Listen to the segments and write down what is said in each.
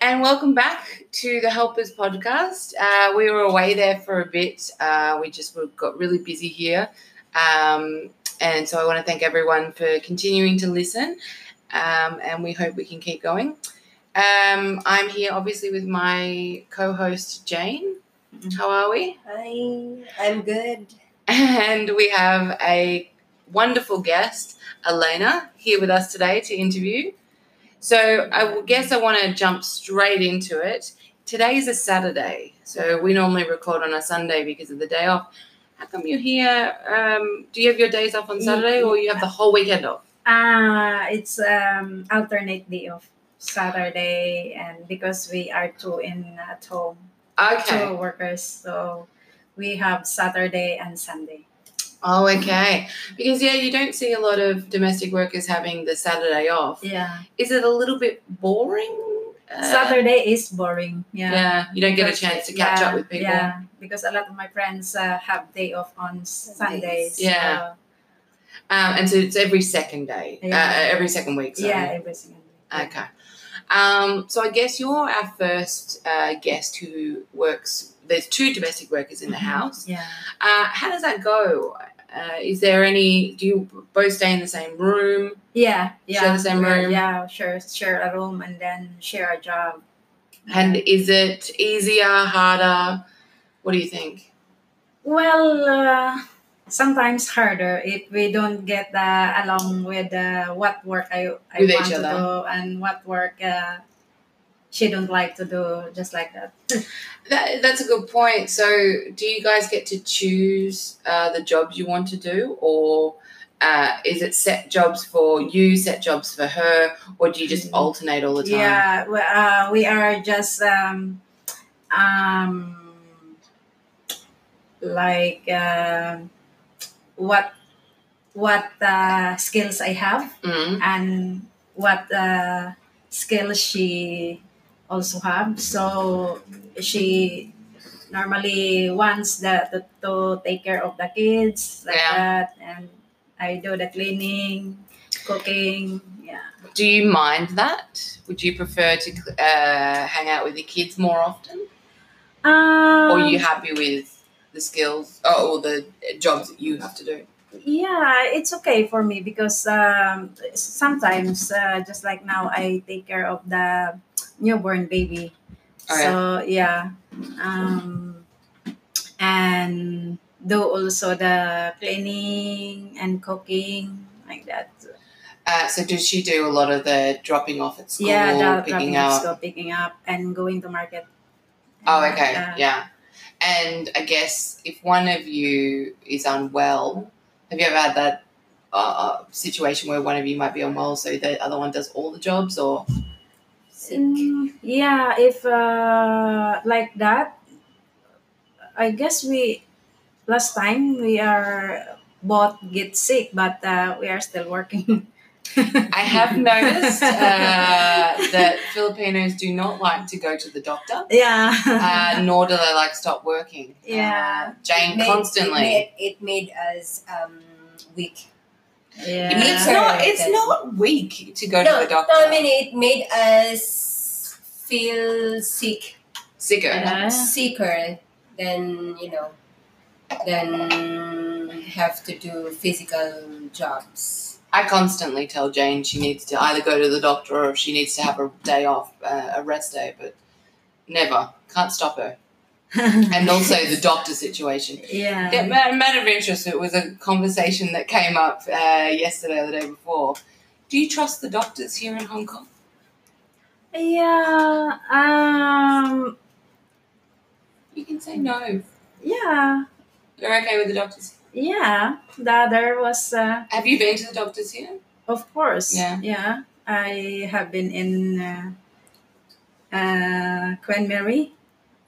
and welcome back to the Helpers podcast. Uh, we were away there for a bit. Uh, we just were, got really busy here. Um, and so I want to thank everyone for continuing to listen. Um, and we hope we can keep going. Um, I'm here obviously with my co host, Jane. How are we? Hi, I'm good. And we have a wonderful guest, Elena, here with us today to interview. So I will guess I want to jump straight into it. Today is a Saturday, so we normally record on a Sunday because of the day off. How come you're here? Um, do you have your days off on Saturday, or you have the whole weekend off? Ah, it's um alternate day of Saturday, and because we are two in at home, Okay. two workers, so we have Saturday and Sunday. Oh, okay. Because yeah, you don't see a lot of domestic workers having the Saturday off. Yeah, Is it a little bit boring? Uh, Saturday is boring. Yeah. Yeah, you don't get a Because- chance to catch up yeah, with people. Yeah, because a lot of my friends uh, have day off on Sundays. Yeah. Um, and so it's every second day, Yeah. uh, every second week. so- Sorry. yeah, every single day. Okay. Um, so I guess you're our first uh, guest who works. There's two domestic workers Mm-hmm. in the house. Yeah. Uh, how does that go? Uh, is there any? Do you both stay in the same room? Yeah, yeah. Share the same yeah, room. Yeah, share share a room and then share a job. And is it easier, harder? What do you think? well, uh, sometimes harder if we don't get uh, along with uh, what work I I With want each to other. do and what work uh, she don't like to do, just like that. That, that's a good point. So, do you guys get to choose uh, the jobs you want to do, or uh, is it set jobs for you, set jobs for her, or do you just Mm. alternate all the time? Yeah, we- uh, we are just um, um, like uh, what what uh, skills I have. Mm. and what uh, skills she also have. So she normally wants the, to, to take care of the kids like Yeah. that, and I do the cleaning, cooking. Yeah, Do you mind that? Would you prefer to uh, hang out with the kids more often, um, or are Oh, you happy with the skills oh, or the jobs that you have to do? yeah, it's okay for me because um, sometimes uh, just like now, I take care of the newborn baby. Oh, yeah. So yeah, um, and do also the cleaning and cooking like that. Uh, so does she do a lot of the dropping off at school, yeah, the picking dropping up? off school, picking up, and going to market. uh, Oh, okay, Yeah. yeah. And I guess if one of you is unwell, have you ever had that uh, situation where one of you might be unwell, so the other one does all the jobs, or Mm, yeah, if uh, like that, I guess we last time we are both get sick, but uh, we are still working. I have noticed uh, that Filipinos do not like to go to the doctor, yeah. uh, nor do they like stop working. Uh, Yeah. Jane It made- constantly. It made, it made us um, weak. yeah. It's Yeah. not. It's not weak to go to the doctor. no, I mean it made us feel sick, sicker. Yeah. sicker than you know, than have to do physical jobs. I constantly tell Jane she needs to either go to the doctor or if she needs to have a day off, uh, a rest day, but never. Can't stop her. And also the doctor situation. yeah. Yeah, ma- matter of interest, it was a conversation that came up uh, yesterday or the day before. Do you trust the doctors here in Hong Kong? Yeah. Um. You can say no. Yeah. You're okay with the doctors. Yeah. The other was, uh, Have you been to the doctors here? of course. Yeah. Yeah. I have been in uh, uh, Queen Mary,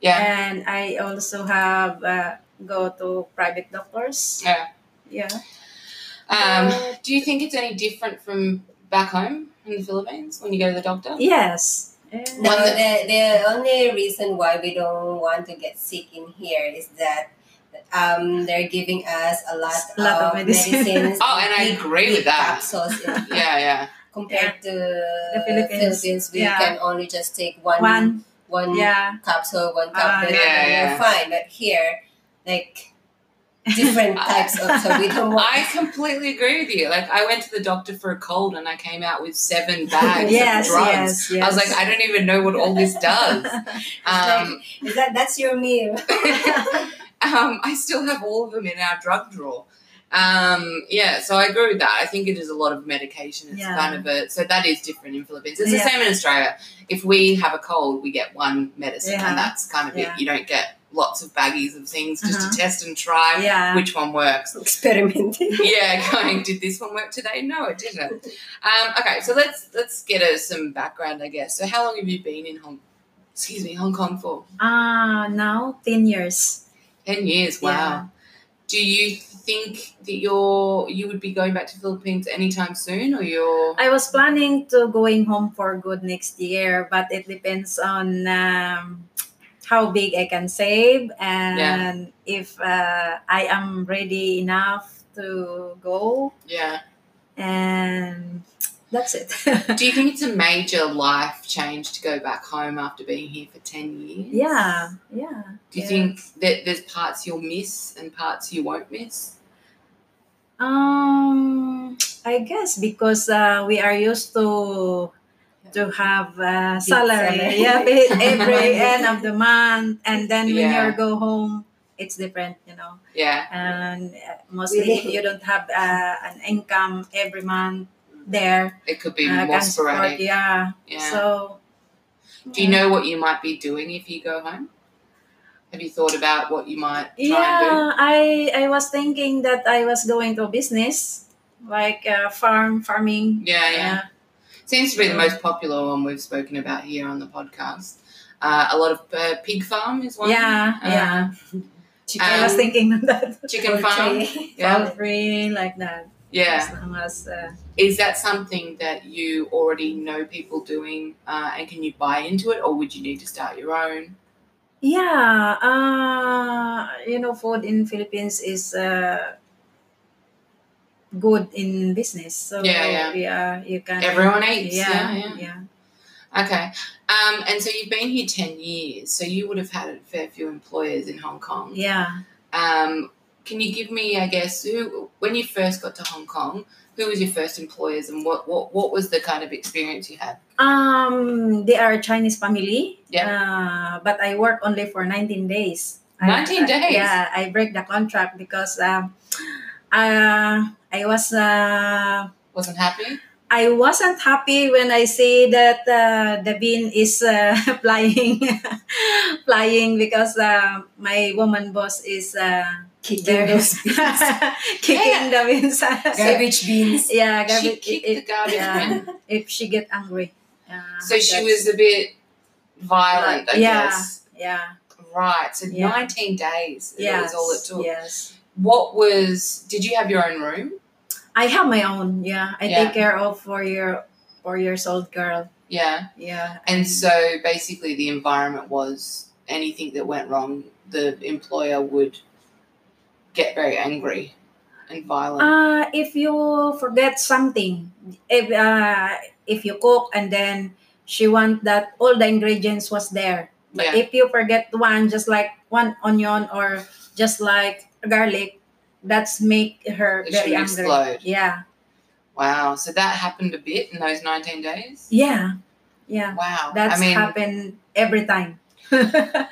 Yeah. and I also have uh, go to private doctors. Yeah. Yeah. Um, Uh, do you think it's any different from back home in the Philippines when you go to the doctor? yes. No, One that- the, the only reason why we don't want to get sick in here is that um, they're giving us a lot, Lot of of, medicine. medicines. Oh, and I big- agree with big that. Capsules in Yeah, yeah. compared to the Philippines. we Yeah. can only just take one one one yeah capsule, one Ah, capsule, yeah, and yeah. you're fine. But here, like different types of so we don't want. I completely agree with you. Like, I went to the doctor for a cold and I came out with seven bags yes, of drugs. yes yes I was like, I don't even know what all this does. Um, Is that that's your meal? um, I still have all of them in our drug drawer. Um, yeah, so I agree with that. I think it is a lot of medication. It's Yeah. kind of a so that is different in Philippines. It's Yeah. the same in Australia. If we have a cold, we get one medicine, Yeah. and that's kind of Yeah. it. You don't get lots of baggies of things just Uh-huh. to test and try yeah which one works. Experimenting. yeah, going, did this one work today? No, it didn't. Um, okay, so let's let's get us some background, I guess. So how long have you been in Hong? Excuse me, Hong Kong for ah now 10 years ten years. Wow. Yeah. Do you think that you're you would be going back to Philippines anytime soon, or you're? i was planning to going home for good next year but it depends on um, how big i can save and if uh, i am ready enough to go Yeah. and that's it Do you think it's a major life change to go back home after being here for ten years? yeah yeah Do you yeah. think that there's parts you'll miss and parts you won't miss? Um, I guess because uh, we are used to to have uh, Big salary, salary. yeah, paid every end of the month, and then when Yeah. you go home, it's different, you know. Yeah. And uh, mostly Really? if you don't have uh, an income every month there, It could be uh, more can support, sporadic. yeah. Yeah. So, Do you know what you might be doing if you go home? Have you thought about what you might try and Yeah, I I was thinking that I was going to business like uh, farm farming. do? Yeah, yeah. Yeah. Seems to be the most popular one we've spoken about here on the podcast. Uh, a lot of uh, pig farm is one. Yeah, Uh, yeah. I was Um, thinking that. Chicken farm. Yeah. Yeah. free like that. Yeah. As long as, uh, Is that something that you already know people doing uh, and can you buy into it or would you need to start your own? yeah. Uh, you know, food in Philippines is uh, good in business. So Yeah, yeah. you can. Everyone eats. Yeah, Yeah, yeah. Okay. Um, and so you've been here 10 years, so you would have had a fair few employers in Hong Kong. yeah. Um, can you give me, I guess, who when you first got to Hong Kong, who was your first employers and what, what, what was the kind of experience you had? Um, they are a Chinese family. Yeah. Uh, but I work only for 19 days. I- 19 I- days? yeah, I break the contract because um, uh, I was uh, Wasn't happy? I wasn't happy when I see that uh, the bean is uh, flying, flying because uh, my woman boss is uh, Kicking there those beans. kicking the beans. Garbage beans. yeah, She garbage- kicked if- the garbage yeah. man. if she get angry. Uh, So she that's- was a bit violent, I Yeah. guess. yeah. Right. So Yeah. 19 days that yes, was all it took. Yes. What was, did you have your own room? I have my own, yeah. I Yeah. take care of four year four years old girl. Yeah. Yeah. And so basically the environment was anything that went wrong, the employer would get very angry and violent. uh if you forget something, if uh if you cook and then she want that all the ingredients was there. But yeah. if you forget one, just like one onion or just like garlic, that's make her It very should angry. explode. Yeah. Wow. So that happened a bit in those 19 days? Yeah. Yeah. Wow. I That's mean, happened every time.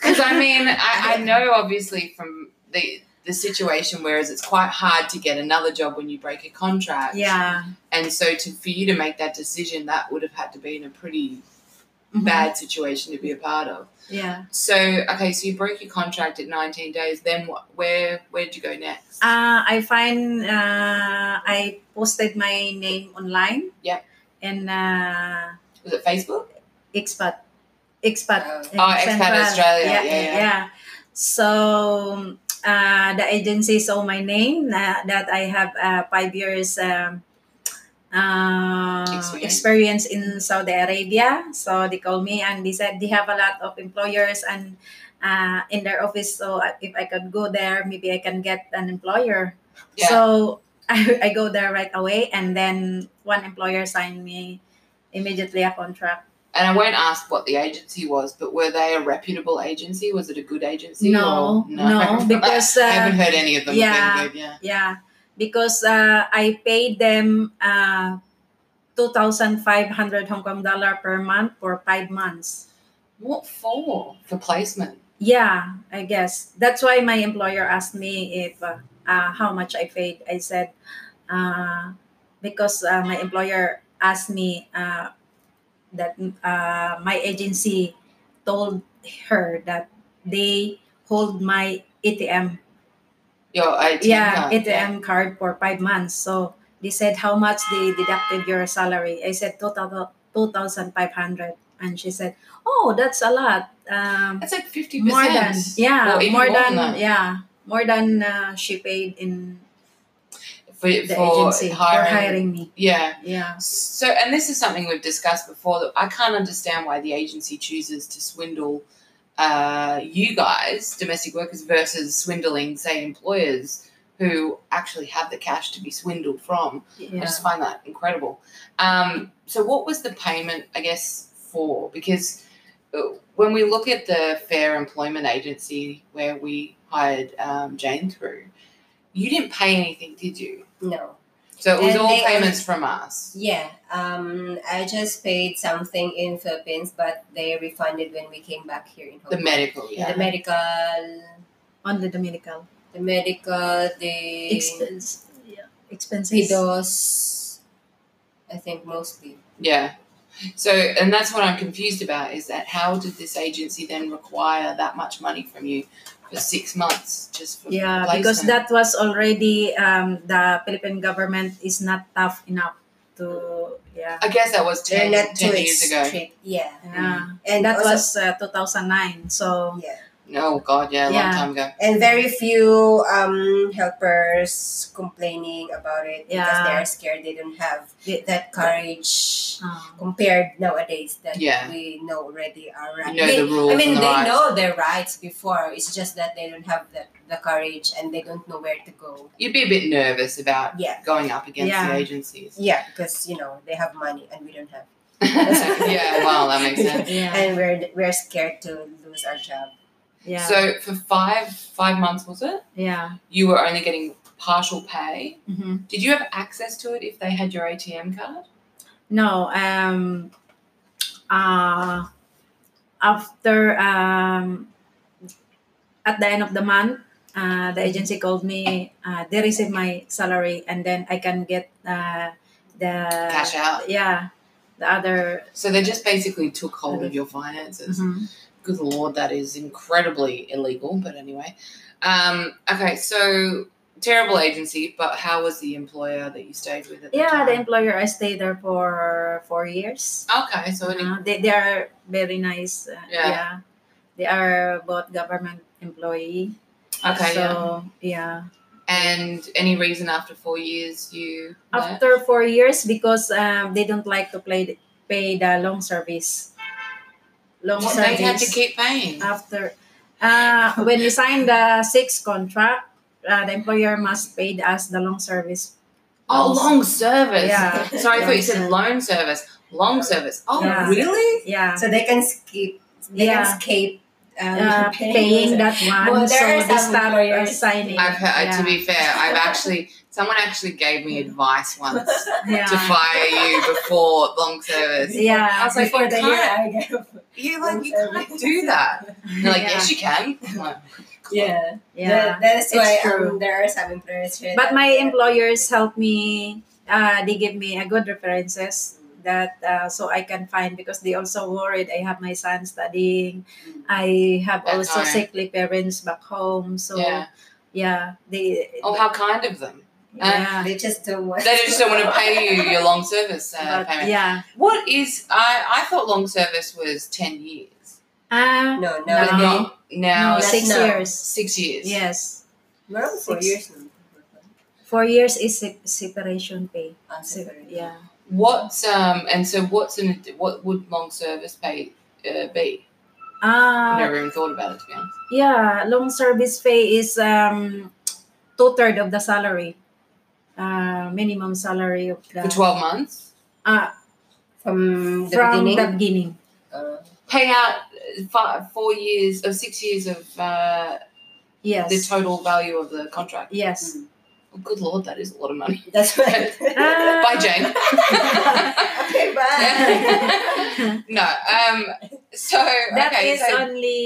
Because I mean, I, I know obviously from the the situation, whereas it's quite hard to get another job when you break a contract. yeah. And so, to for you to make that decision, that would have had to be in a pretty Mhm. bad situation to be a part of. Yeah. So, okay, so you broke your contract at 19 days. Then, what, where where did you go next? Uh, I find uh, I posted my name online. Yeah. And uh, Was it Facebook? expat, expat. Oh. in Oh, Expat Central. Australia. Yeah, Yeah, yeah. So uh, the agency saw my name uh, that I have uh, five years. Um, uh, Experience. experience in Saudi Arabia, so they called me and they said they have a lot of employers and uh, in their office. So if I could go there, maybe I can get an employer. Yeah. So I, I go there right away, and then one employer signed me immediately a contract. And I won't ask what the agency was, but were they a reputable agency? Was it a good agency? or- No, no, because I haven't uh, heard any of them. being yeah. good, yeah. yeah, because uh, I paid them uh, two thousand five hundred Hong Kong dollar per month for five months. What for? For placement. Yeah, I guess that's why my employer asked me if uh, uh, how much I paid. I said uh, because uh, my employer asked me uh, that uh, my agency told her that they hold my ATM Your ATM card, yeah um, ATM card for five months. So they said how much they deducted your salary. I said total two thousand five hundred, and she said, "Oh, that's a lot." Um, That's like fifty percent. more than yeah or even more more than than that. yeah more than uh, she paid in for, the for agency hiring. for hiring me Yeah. yeah So, and this is something we've discussed before. That I can't understand why the agency chooses to swindle uh, you guys, domestic workers, versus swindling, say, employers who actually have the cash to be swindled from. I yeah just find that incredible. Um, so, what was the payment, I guess, for? Because uh, when we look at the Fair Employment Agency where we hired um, Jane through, you didn't pay anything, did you? No. So, it was And all they- payments from us. Yeah. Um, I just paid something in Philippines, but they refunded when we came back here in Hong The Kong. medical, yeah. The medical, only the medical the medical, the expense yeah expenses PIDOS, I think mostly. Yeah. So, and that's what I'm confused about is that how did this agency then require that much money from you for six months just for yeah placement? because that was already um, the Philippine government is not tough enough to yeah I guess that was They're 10, 10 not too years ago. strict. Yeah. yeah And that was uh, also- 2009 so Yeah. Oh, God, yeah, a long Yeah. time ago. and very few um, helpers complaining about it because Yeah. they are scared they don't have They- that courage uh, compared nowadays that Yeah. we know already are right. You know the rules I mean, and the they rights. know their rights before. It's just that they don't have the, the courage and they don't know where to go. You'd be a bit nervous about Yeah, going up against Yeah. the agencies. yeah, because you know they have money and we don't have, yeah, well, that makes sense. yeah and we're we're scared to lose our job. yeah So for five five months was it? yeah You were only getting partial pay. hmm Did you have access to it if they had your ATM card? No, um, uh, after um, at the end of the month, uh, the agency called me. Uh, they received my salary, and then I can get uh, the Cash out. Yeah, the other. So they just basically took hold of your finances. Mhm. Good lord, that is incredibly illegal. But anyway, um, okay. So terrible agency, but how was the employer that you stayed with at the Yeah, time? the employer. I stayed there for four years. okay. So any- Uh, they, they are very nice. Uh, Yeah. they are both government employee. okay, yeah. Uh-huh. so yeah. And any reason after four years you left? after four years because um, they don't like to play pay the long service. Long Well, they service Um, had to keep paying. after uh, when you sign the six contract, uh, the employer must pay us the long service. Oh, long service. Yeah. Sorry, I thought you said loan Long service. Long service. Oh, Yeah. really? Yeah, So they can skip. They Yeah. can escape. Um, uh, paying that one. Well, there so are they some stop uh, employers- signing. I've heard, yeah. To be fair, I've actually someone actually gave me advice once yeah. to fire you before long service. I yeah. was like, before you the year can't, I "Oh, gave. you like you Long can't service. do that. They're like, Yeah. yes, you can. I'm like, Yeah. yeah. That- that's it's why true. um, there are some employers here. But that- my employers help me. Uh, they give me a good references that uh, so I can find because they also worried. I have my son studying. I have That's also fine. sickly parents back home. So yeah. yeah, they Oh, how kind of them. yeah. They just don't want. They just don't want to pay you your long service uh, But, payment. yeah. What is? I I thought long service was ten years. Uh, No, no, No. But not now. no, it's six no. years. Six years. Yes, We're on four Six. years now. four years is se- separation pay. Se- Separate. yeah, What's um and so what's an what would long service pay uh, be? ah, Never even thought about it to be honest. yeah. Long service pay is um two third of the salary. uh, minimum salary of the for 12 months. uh, From the from beginning. the beginning. Uh, Pay out uh, five, four years or six years of uh, Yes. the total value of the contract. yes. Oh, good lord, that is a lot of money. that's right. Ah. Bye, Jane. okay, bye. no, um, so Uh, That okay, is so only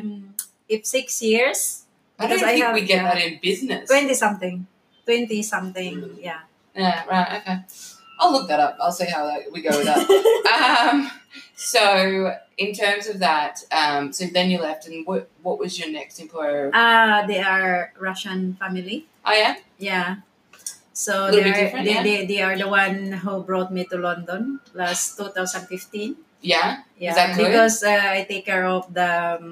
um, if six years, I don't because I think have- we get yeah. that in business. twenty something, twenty something. Yeah. Yeah, right. Okay. I'll look that up. I'll see how that, we go with that. um, so, in terms of that, um, so then you left, and what what was your next employer? Uh, they are Russian family. oh yeah, Yeah. So Little they bit are, different, they, yeah. they, they are the one who brought me to London last 2015. yeah. Yeah, that good? because uh, I take care of the um,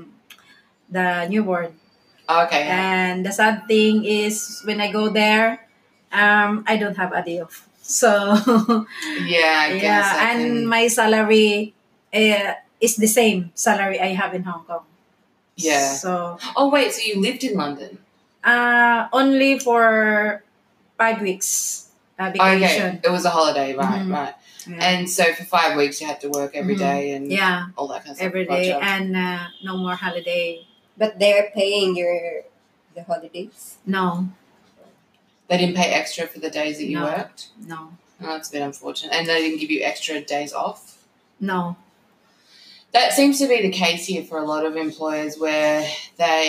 the newborn. Oh, okay. And the sad thing is when I go there, um, I don't have a day off. So yeah, I guess. yeah, I and can- my salary uh, is the same salary I have in Hong Kong. yeah. So Oh wait, so you lived in London? uh, only for five weeks uh, Okay, vacation. it was a holiday, right? Mhm. Right. Yeah. And so for five weeks, you had to work every Mhm. day and yeah. all that kind of stuff. every Right, day job. and uh, no more holiday. But they're paying your the holidays. No, they didn't pay extra for the days that you No. worked. no, Oh, that's a bit unfortunate. And they didn't give you extra days off. no. That seems to be the case here for a lot of employers where they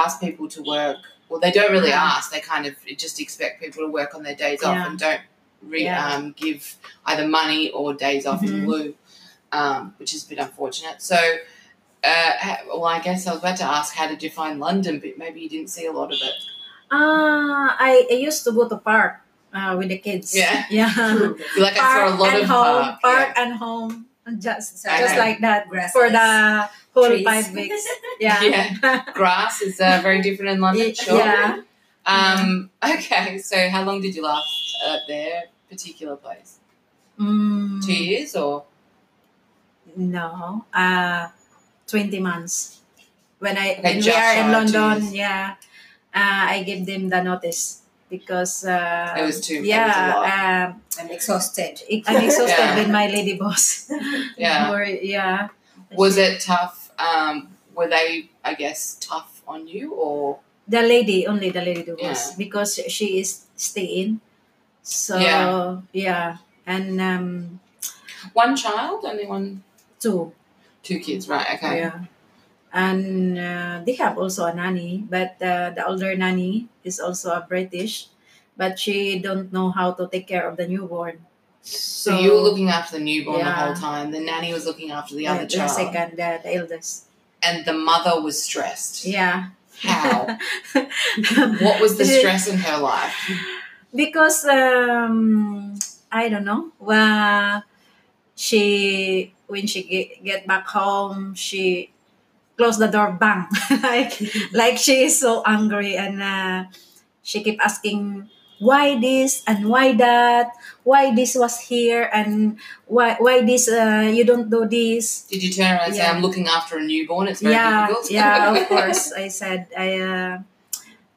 ask people to work. Well, they don't really Yeah. ask. They kind of just expect people to work on their days off Yeah. and don't re- Yeah. um, give either money or days off in Mhm. lieu, um, which is a bit unfortunate. So, uh, ha- well, I guess I was about to ask how did you find London, but maybe you didn't see a lot of it. Uh, I, I used to go to park uh, with the kids. Yeah. yeah. Like I saw a lot and of home, park. yeah. and home, and just I just know. like that Grasses. for the whole trees. five weeks. Yeah. Yeah. Grass is uh, very different in London, Y- sure. yeah. Um, okay, so how long did you last at their particular place? Mm, Two years or? No, uh, twenty months. When I Okay, when we just are shy in of two London, years. yeah, uh, I give them the notice because uh, It was too- it was a lot. Yeah, um, I'm exhausted. I'm exhausted Yeah. with my lady boss. Yeah. Or, yeah. Was it tough? Um, were they, I guess, tough on you or? the lady only the lady boss Yeah. because she is staying. So Yeah. yeah, and um One child? Only one? two Two kids, right, okay. yeah, and uh, they have also a nanny, but uh, the older nanny is also a British, but she don't know how to take care of the newborn. So, So, you were looking after the newborn the Yeah. whole time. The nanny was looking after the uh, other child. second, the, the eldest. And the mother was stressed. Yeah. How? What was the She- stress in her life? because um, I don't know. Well, she when she get, get back home, she closed the door, bang, like like she is so angry, and uh, she keep asking why this and why that, why this was here and why why this uh, you don't do this. Did you turn around and say, Yeah. I'm looking after a newborn? It's very yeah, difficult. yeah, of course. I said I, uh,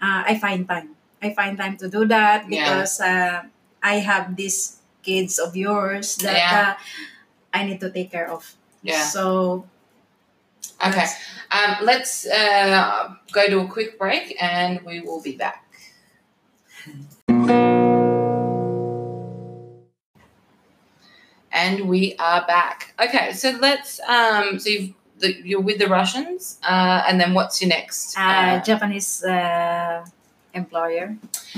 uh, I find time. I find time to do that Yeah. because uh, I have these kids of yours that Yeah. uh, I need to take care of. yeah. So Okay. Um, let's uh, go to a quick break and we will be back. And we are back. Okay, so let's. Um, so you've, the, you're with the Russians, uh, and then what's your next? uh, Japanese uh, employer.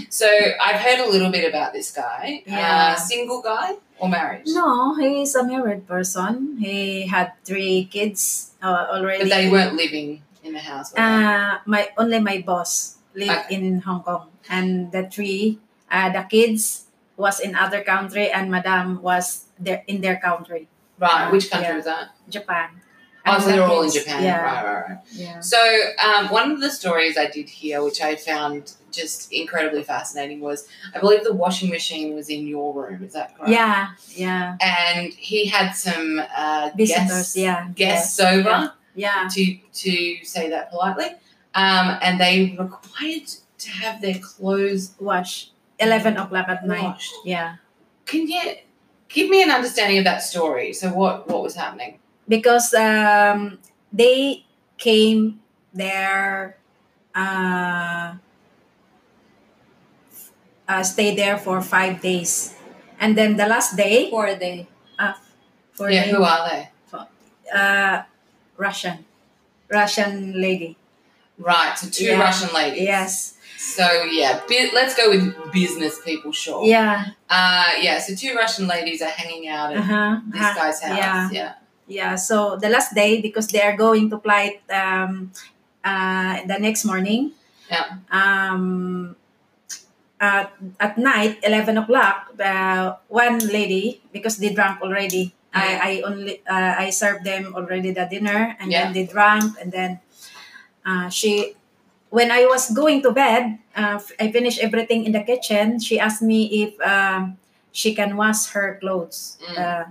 so I've heard a little bit about this guy. Yeah. Uh, single guy or married? No, he is a married person. He had three kids uh, already. But they weren't living in the house. were they? Uh, my only my boss Ah. lived in Hong Kong, and the three, uh, the kids was in other country, and Madame was there in their country, right. Which country yeah. was that? Japan. Oh, And so the they're all in kids- Japan. Yeah, Right, right, right. yeah. So, um, one of the stories I did hear, which I found just incredibly fascinating, was I believe the washing machine was in your room. Is that correct? yeah, yeah. And he had some uh, Visitors, guests, yeah, guests yes, over yeah, to to say that politely, um, and they required to have their clothes wash 11 o'clock at night. Washed. Yeah. Can you give me an understanding of that story? So what what was happening? Because um, they came there, uh, uh, stayed there for five days. And then the last day, Four day. uh, for yeah, the- who are they? uh, Russian, Russian lady. Right, so two Yeah. Russian ladies. Yes. So yeah, bu- let's go with business people, sure. Yeah. Uh, yeah. So two Russian ladies are hanging out at Uh-huh. this Uh, guy's house. yeah. yeah. yeah. So the last day because they are going to flight um, uh, the next morning. Yeah. Um, at, at night, eleven o'clock, uh, one lady because they drank already. Yeah. I, I only uh, I served them already the dinner and Yeah. then they drank and then uh, she when I was going to bed uh, f- I finished everything in the kitchen she asked me if um, she can wash her clothes Mm. uh,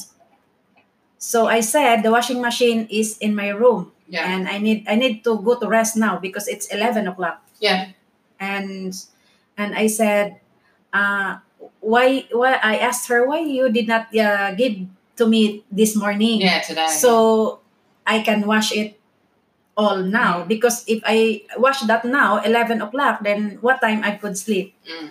so I said the washing machine is in my room Yeah. and I need I need to go to rest now because it's eleven o'clock. Yeah. And and I said, uh, why why I asked her why you did not uh, give to me this morning Yeah. Today. so I can wash it all now Mm. because if I wash that now eleven o'clock then what time I could sleep. Mm.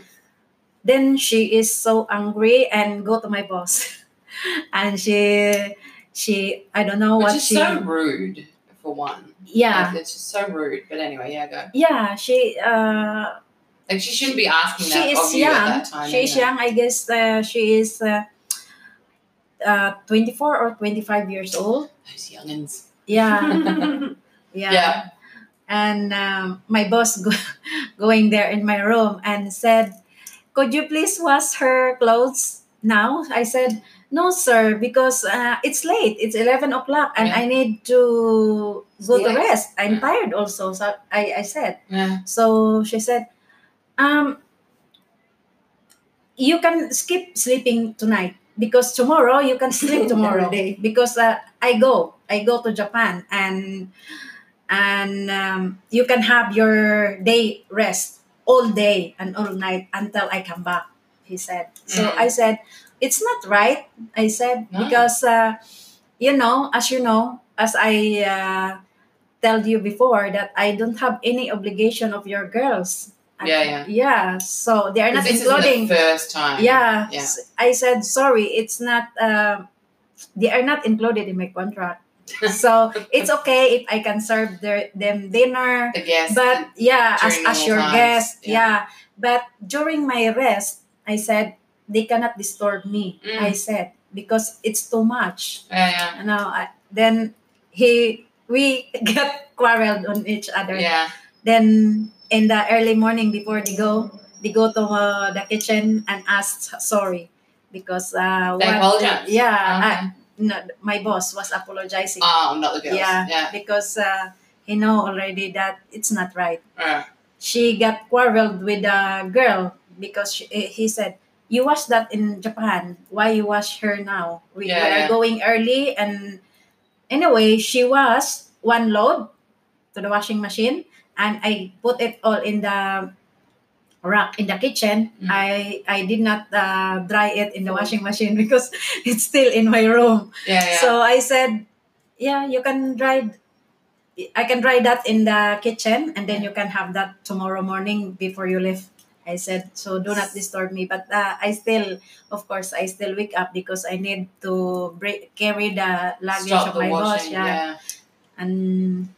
Then she is so angry and go to my boss, and she she I don't know which what is she so rude for one. yeah Like, it's just so rude. But anyway, yeah, go. yeah she uh Like she shouldn't be asking that she is of you at young that time. she is either. young i guess uh, she is uh, uh 24 or 25 years old Those youngins. yeah Yeah. yeah, and um, my boss go- going there in my room and said could you please wash her clothes now i said no sir because uh, it's late it's 11 o'clock and Yeah. i need to go to Relax. rest Yeah. i'm Mm. tired also so i, I said Yeah. So she said, um, you can skip sleeping tonight because tomorrow you can sleep tomorrow Every day. because uh, I go I go to Japan and and um, you can have your day rest all day and all night until I come back he said so Mm. I said it's not right I said No. because uh, you know as you know as I uh, tell you before that I don't have any obligation of your girls. Yeah, yeah. Yeah, so they are not this Isn't including. the first time. yeah, Yeah. s- I said sorry. It's not. Uh, they are not included in my contract. so it's okay if I can serve their, them dinner. The guest. But yeah, as, During as normal your times, guest, yeah. yeah. But during my rest, I said they cannot disturb me. Mm. I said because it's too much. yeah, No, I, then he we got quarreled on each yeah. other. Yeah. Then in the early morning before they go, they go to uh, the kitchen and asked sorry because uh, They Uh-huh. what- apologized? Yeah, I- Okay. no, my boss was apologizing oh, not the girls. Yeah. Yeah. because uh, he know already that it's not right. Alright. She got quarreled with a girl because she, eh, he said. You wash that in Japan. Why you wash her now? We, Yeah, we are yeah. going early and anyway, she washed one load to the washing machine and I put it all in the rack in the kitchen. Mm. Oh. I I did not uh, dry it in the washing machine because it's still in my room. Yeah. Yeah. So I said, yeah, you can dry I can dry that in the kitchen and then you can have that tomorrow morning before you leave. I said, so do not disturb me. But uh, I still, of course, I still wake up because I need to bri- carry the luggage Stop of the my boss. washing. Yeah yeah. and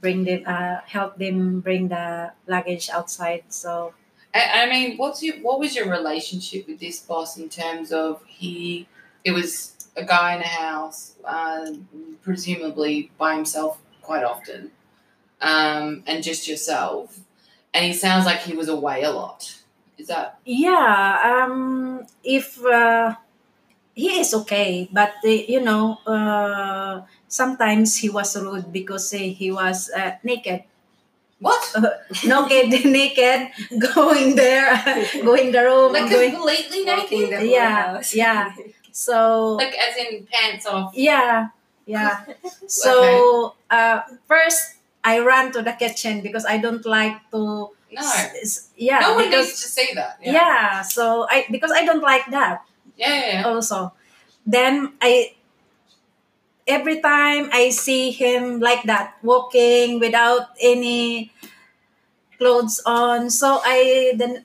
bring them uh, help them bring the luggage outside so I, I mean, what's your what was your relationship with this boss in terms of he? It was a guy in a house, uh, presumably by himself quite often, um, and just yourself. And he sounds like he was away a lot. Is that yeah um if uh, he is okay but uh, you know uh, sometimes he was rude because uh, he was uh, naked what? no kid naked going there going the room Like going completely naked? Walking the whole Yeah, house. yeah. so Like as in pants off? Yeah, yeah. So uh, first, I ran to the kitchen because I don't like to No. S- s- yeah, no one because needs to see that. yeah. so I because I don't like that Yeah. yeah, yeah. also. Then I every time I see him like that walking without any clothes on, so I then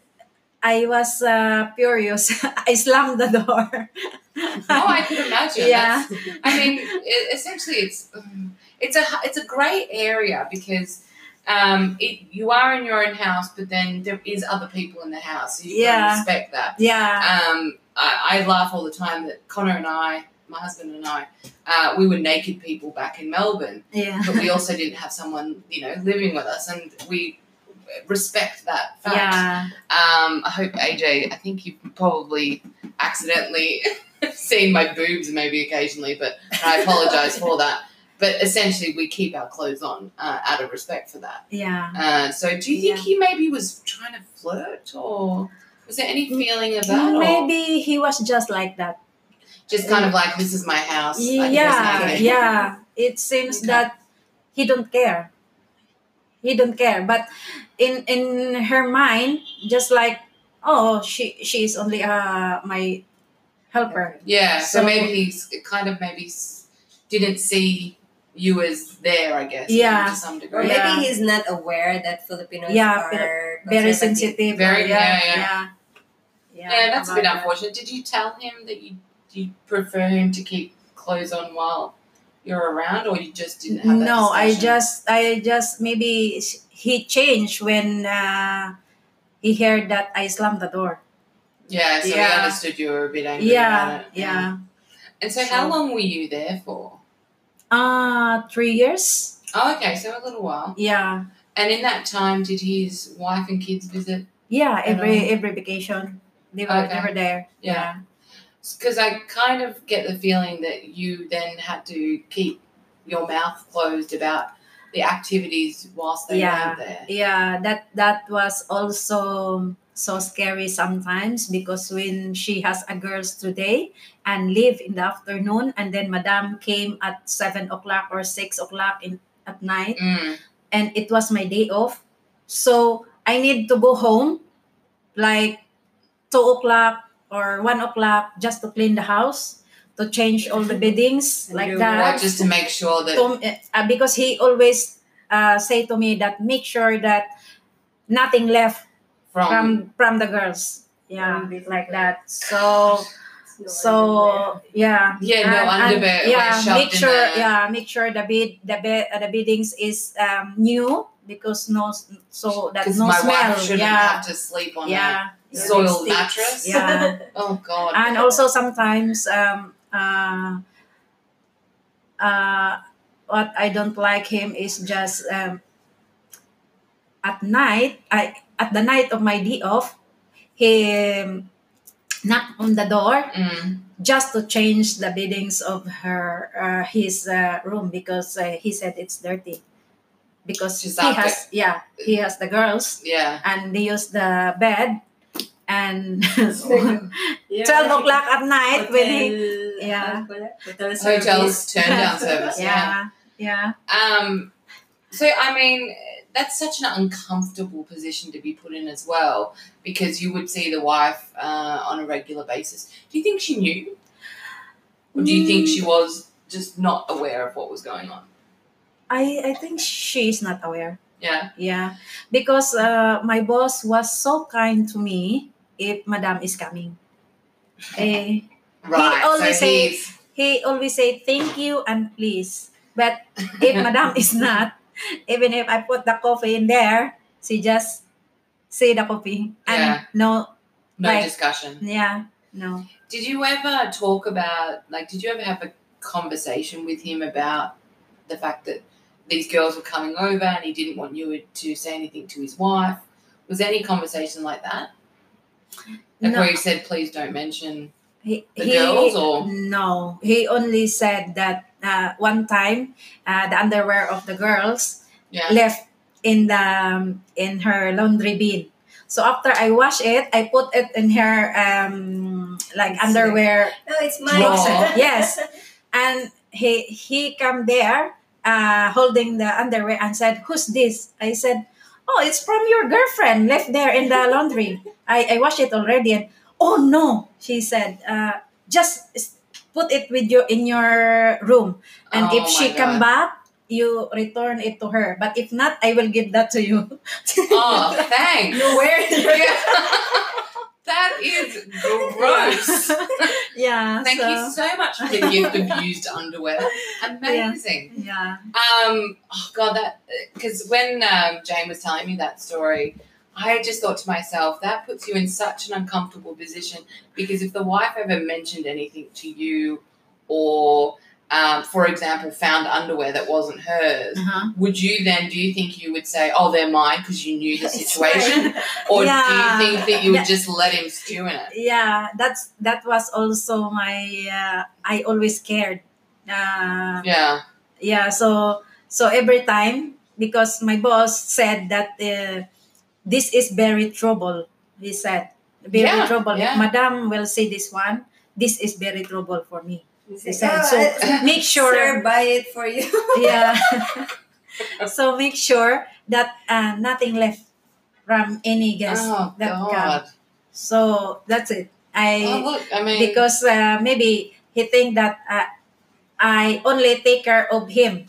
I was uh, furious. I slammed the door. No, Oh, I can imagine. yeah. That's- I mean, e- essentially, it's um, it's a it's a grey area because um, it, you are in your own house, but then there is other people in the house. So you Yeah. to respect that. Yeah. Um, I, I laugh all the time that Connor and I, my husband and I, uh, we were naked people back in Melbourne, Yeah. but we also didn't have someone you know living with us, and we respect that fact. Yeah. Um, I hope AJ. I think you've probably accidentally seen my boobs maybe occasionally, but I apologise for that. But essentially, we keep our clothes on uh, out of respect for that. Yeah. Uh, so, do you think Yeah. he maybe was trying to flirt, or was there any Mm, feeling of that, or Maybe he was just like that. just kind of like this is my house? like, here's my yeah, thing." yeah. It seems Okay. that he don't care. He don't care. But in in her mind, just like oh, she she is only uh my helper. yeah. So, So- maybe he's kind of maybe s- didn't see you as there, I guess. Yeah. to some Or degree. Yeah. maybe he's not aware that Filipinos Yeah, are Very conservative. sensitive. Very- yeah, yeah, yeah. yeah. Yeah, that's a about bit that. unfortunate. Did you tell him that you you prefer him to keep clothes on while you're around, or you just didn't have that? no i discussion? just i just maybe sh- he changed when uh, he heard that i slammed the door yeah. So Yeah. he understood you were a bit angry yeah about it. Mm. yeah And so, how So- long were you there for? uh three years Oh, okay. So a little while. yeah And in that time, did his wife and kids visit? yeah And every every vacation they were, they Okay. were there Yeah. Because I kind of get the feeling that you then had to keep your mouth closed about the activities whilst they Yeah. were there. yeah that that was also so scary sometimes because when she has a girls today and leave in the afternoon and then madam came at seven o'clock or six o'clock in at night Mm. and it was my day off. So I need to go home like two o'clock or one o'clock just to clean the house, to change all the beddings And like do Like that. just to make sure that To- uh, because he always uh, say to me that make sure that nothing left from from the girls. Yeah, Mm. From before. like that. So It's no underwear. so yeah. Yeah, no And- and, underwear. were yeah, shoved make in sure. there. Yeah, make sure the bed, the bed, uh, the beddings is um, new because no, s- so that Because no my smell. wife shouldn't yeah, have to sleep on a yeah, Yeah. soiled Lipsticks. mattress. yeah. Oh God. and also sometimes, um, uh, uh, what I don't like him is just um, at night. I at the night of my day off, he um, knocked on the door Mm. just to change the beddings of her uh, his uh, room because uh, he said it's dirty because She's he out has yeah he has the girls Yeah. and they use the bed and 12 Hotel- Yeah. o'clock at night when he Yeah. Hotel Hotels service. turn down service. Yeah. yeah yeah Um. So I mean, that's such an uncomfortable position to be put in as well, because you would see the wife uh, on a regular basis. Do you think she knew, or do you think Mm, she was just not aware of what was going on? I I think she's not aware Yeah. yeah because uh, my boss was so kind to me if madam is coming eh, Right. always so say- he's- he always say thank you and please. But if madam is not, even if I put the coffee in there, she just say the coffee and Yeah. no, no like- discussion. yeah, no. Did you ever talk about, like, did you ever have a conversation with him about the fact that these girls were coming over and he didn't want you to say anything to his wife? Was there any conversation like that? Like no. where you said, please don't mention He, the he- girls or? no, he only said that uh, one time uh, the underwear of the girls Yeah. left in the um, in her laundry bin. So after I wash it, I put it in her um, like It's underwear No, it's mine. Drawer. Yes. and he he come there uh, holding the underwear and said who's this i said oh, it's from your girlfriend left there in the laundry. I, I washed it already. And oh no, she said, uh, just s- put it with you in your room. And Oh if my she come God. back, you return it to her. But if not, I will give that to you. Oh, thanks. You wear it. Yeah. that is gross. yeah. Thank so, you so much for the gift of used underwear. Amazing. Yeah. Um, oh God, that because when um, Jane was telling me that story, I just thought to myself that puts you in such an uncomfortable position because if the wife ever mentioned anything to you, or um, for example, found underwear that wasn't hers, Uh-huh. would you then do you think you would say, "Oh, they're mine" because you knew the It's situation, or Yeah. do you think that you would Yeah. just let him stew in it? Yeah, that's that was also my uh, I always cared. Uh, Yeah. yeah so so every time because my boss said that uh, this is very trouble he said very Yeah, trouble yeah. madam will see this one this is very trouble for me It's he like, said "Oh, so I- make Sir, sure buy it for you. yeah so make sure that uh, nothing left from any guest oh that God. come. so that's it i Oh, look, I mean, because uh, maybe he think that uh, I only take care of him,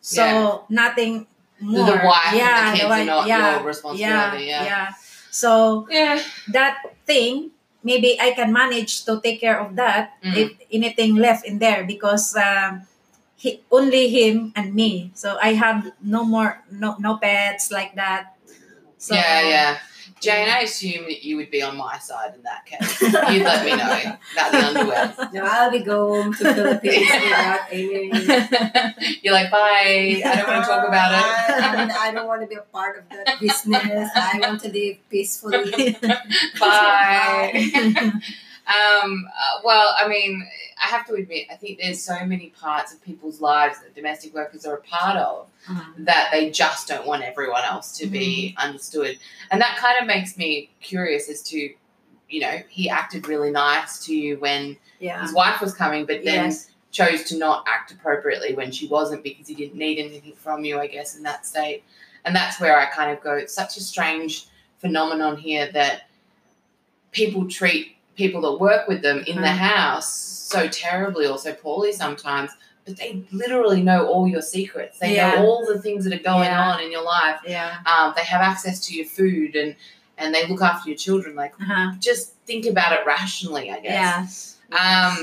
so Yeah. nothing the more. wife and yeah, the kids wife, are not yeah, your yeah, responsibility. yeah, Yeah. So Yeah. that thing, maybe I can manage to take care of that Mm. if anything left in there because um, he only him and me. So I have no more no no pets like that. So, yeah, yeah. Jane, I assume that you would be on my side in that case. You'd let me know about the underwear. No, I'll be going to Philippines without any. You're like, bye. I don't want to talk about I, it. I don't want to be a part of that business. I want to live peacefully. bye. Um, uh, well, I mean, I have to admit, I think there's so many parts of people's lives that domestic workers are a part of Mhm. that they just don't want everyone else to be Mm. understood. And that kind of makes me curious as to, you know, he acted really nice to you when yeah. his wife was coming, but then Yes. chose to not act appropriately when she wasn't because he didn't need anything from you, I guess, in that state. And that's where I kind of go, it's such a strange phenomenon here that people treat people that work with them in the Mm. house so terribly or so poorly sometimes, but they literally know all your secrets. They Yeah. know all the things that are going Yeah. on in your life. Yeah. Um, they have access to your food and, and they look after your children. Like, Uh-huh. just think about it rationally, I guess. Yes. Um,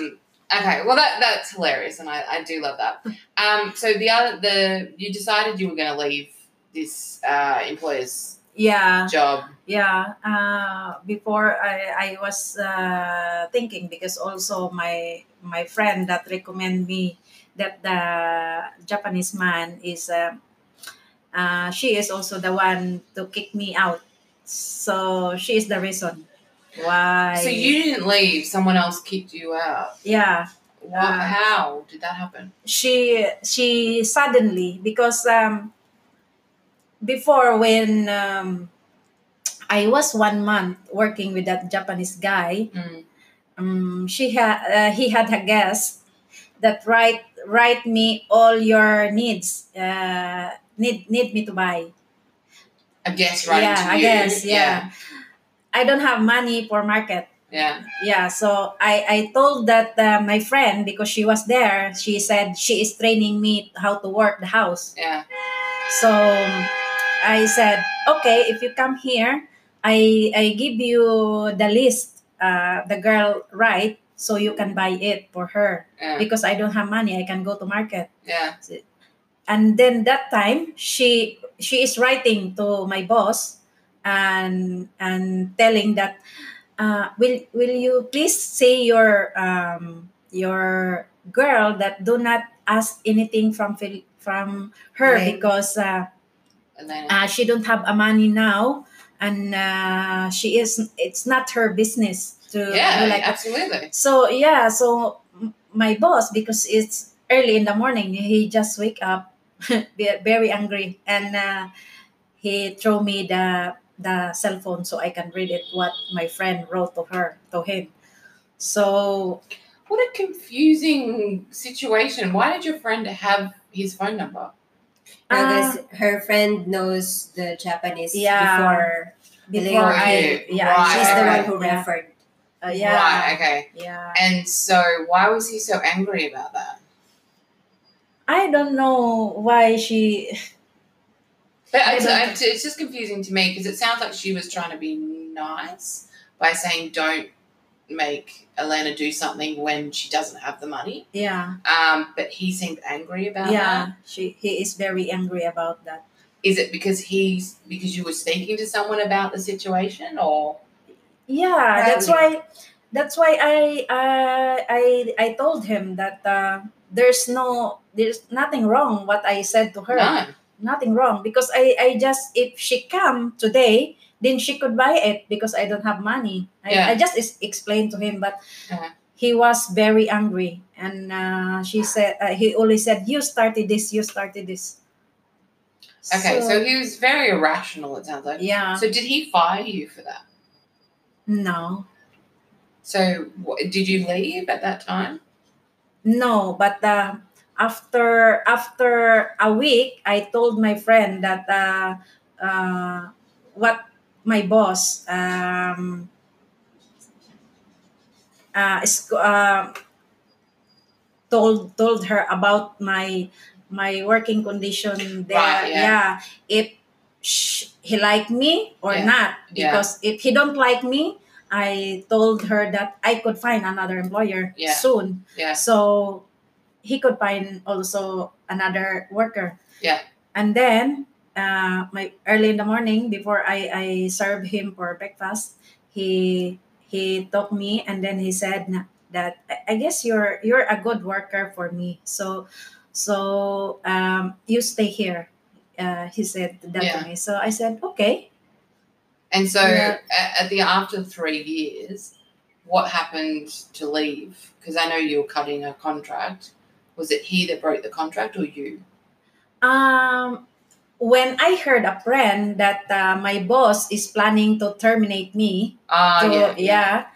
okay, well that that's hilarious, and I, I do love that. Um, so the other the you decided you were going to leave this uh, employer's yeah. job. Yeah, uh, before I, I was uh, thinking because also my my friend that recommend me that the Japanese man is uh, uh, she is also the one to kick me out. So she is the reason why. so you didn't leave; someone else kicked you out. yeah What? Uh, how did that happen? she she suddenly because um before when um I was one month working with that Japanese guy. Mm. um, she had uh, he had a guest that write write me all your needs uh, need need me to buy I guess right yeah into i you. guess yeah. i don't have money for market yeah, yeah so i i told that uh, my friend because she was there she said she is training me how to work the house yeah, so i said okay if you come here i i give you the list uh, the girl write so you can buy it for her yeah, yeah, because I don't have money, I can go to market. yeah. And then that time, she she is writing to my boss and and telling that uh, will will you please say your um, your girl that do not ask anything from Phil- from her Right. because uh, Elena. uh, she don't have a money now and uh, she is it's not her business to do yeah, like uh, that. absolutely. So yeah, so m- my boss because it's early in the morning, he just wake up ve- very angry and uh, he throw me the the cell phone so I can read it what my friend wrote to her to him. So What a confusing situation. Why did your friend have his phone number? uh, because her friend knows the Japanese Yeah. before. before Right. I, yeah, Right, She's the one right. who yeah, referred. Uh, yeah, Right, okay. yeah. And so why was he so angry about that? I don't know why she. But I, I don't- I, it's just confusing to me because it sounds like she was trying to be nice by saying don't make Elena do something when she doesn't have the money. Yeah, Um, but he seemed angry about that. yeah. She he is very angry about that. Is it because he's because you were speaking to someone about the situation or Yeah, that's Probably. why. That's why I uh, I I told him that uh, there's no there's nothing wrong what I said to her. no? Nothing wrong because I I just if she come today then she could buy it because I don't have money. I, Yeah. I just is explained to him, but Uh-huh. he was very angry and uh, she said uh, he only said you started this, you started this. Okay, so, he was very irrational. It sounds like. yeah, So did he fire you for that? no. So wh- did you leave at that time? No, but uh, after after a week, I told my friend that uh, uh, what my boss um, uh, is, uh, told told her about my my working condition there. Right, yeah. if sh- he like me or Yeah, not, yeah. because if he don't like me, I told her that I could find another employer Yeah. soon. Yeah. So he could find also another worker. Yeah. And then uh, my early in the morning before I I serve him for breakfast, he he took me and then he said na- that "I- I guess you're you're a good worker for me. So so um, you stay here. Uh, he said that Yeah. to me. So I said okay. And so Yeah. a- at the after three years, what happened to leave? Because I know you were cutting a contract. Was it he that broke the contract or you? Um, when I heard a friend that uh, my boss is planning to terminate me, Ah, to- yeah,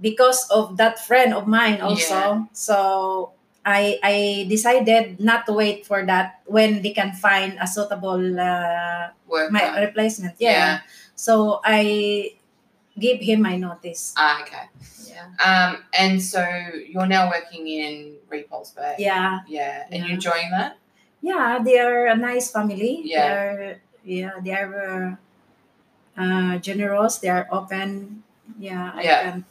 because of that friend of mine also so i i decided not to wait for that when they can find a suitable uh, Work my done. replacement Yeah. yeah. so i give him my notice Ah, okay. yeah Um, and so you're now working in Repulse Bay. yeah Yeah. And Yeah. you enjoying that? yeah they are a nice family Yeah. they are, yeah they are uh, uh, generous they are open yeah I Yeah. can-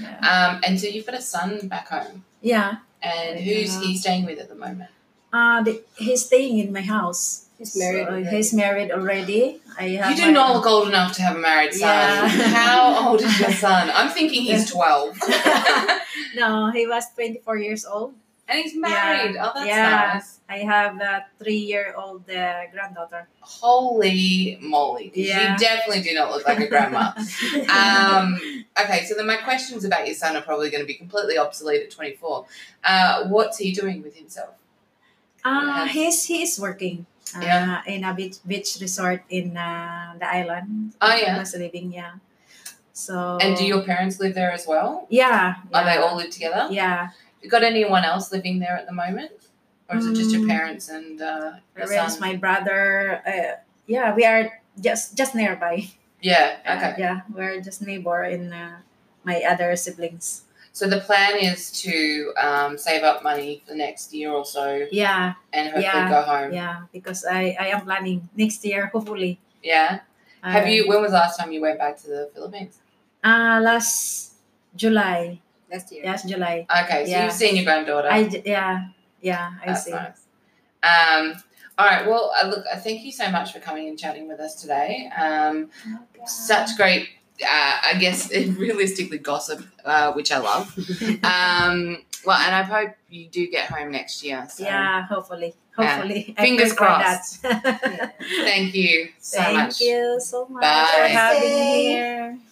yeah Um, and so you've got a son back home. yeah And who's he staying with at the moment? Uh, the, he's staying in my house. He's married So, already. he's married already. I have You do not my- look old enough to have a married son. Yeah. How old is your son? I'm thinking he's 12. No, he was 24 years old. and he's married. Oh, that's Yeah. nice. I have a three-year-old uh, granddaughter. Holy moly. Yeah. You definitely do not look like a grandma. um, okay, so then my questions about your son are probably going to be completely obsolete at 24. Uh, what's he doing with himself? Uh, he's he is working. Uh, Yeah. in a beach, beach resort in uh, the island. Oh, yeah. I was living. Yeah. So. And do your parents live there as well? Yeah. Are they Oh. yeah, all live together? Yeah. You got anyone else living there at the moment? Or is it just your Mm. parents and uh, your Parents, son? my brother. Uh, yeah, we are just just nearby. yeah, Uh, okay. yeah, we're just neighbor in uh, my other siblings. So the plan is to um, save up money for the next year or so Yeah, and hopefully Yeah, go home. yeah, because I I am planning next year hopefully. Yeah. Have Uh, you? When was the last time you went back to the Philippines? Uh last July. Last year. Yes, July. Okay, so Yeah. you've seen your granddaughter. I j- yeah yeah I That's see. nice. Um, all right. Well, uh, look, I thank you so much for coming and chatting with us today. Um, such great, uh, I guess, realistically gossip, uh, which I love. um, well, and I hope you do get home next year. So. Yeah, hopefully, hopefully. I Fingers pray for that. crossed. Thank you so Thank much. you so much Bye. for having me Thursday. here.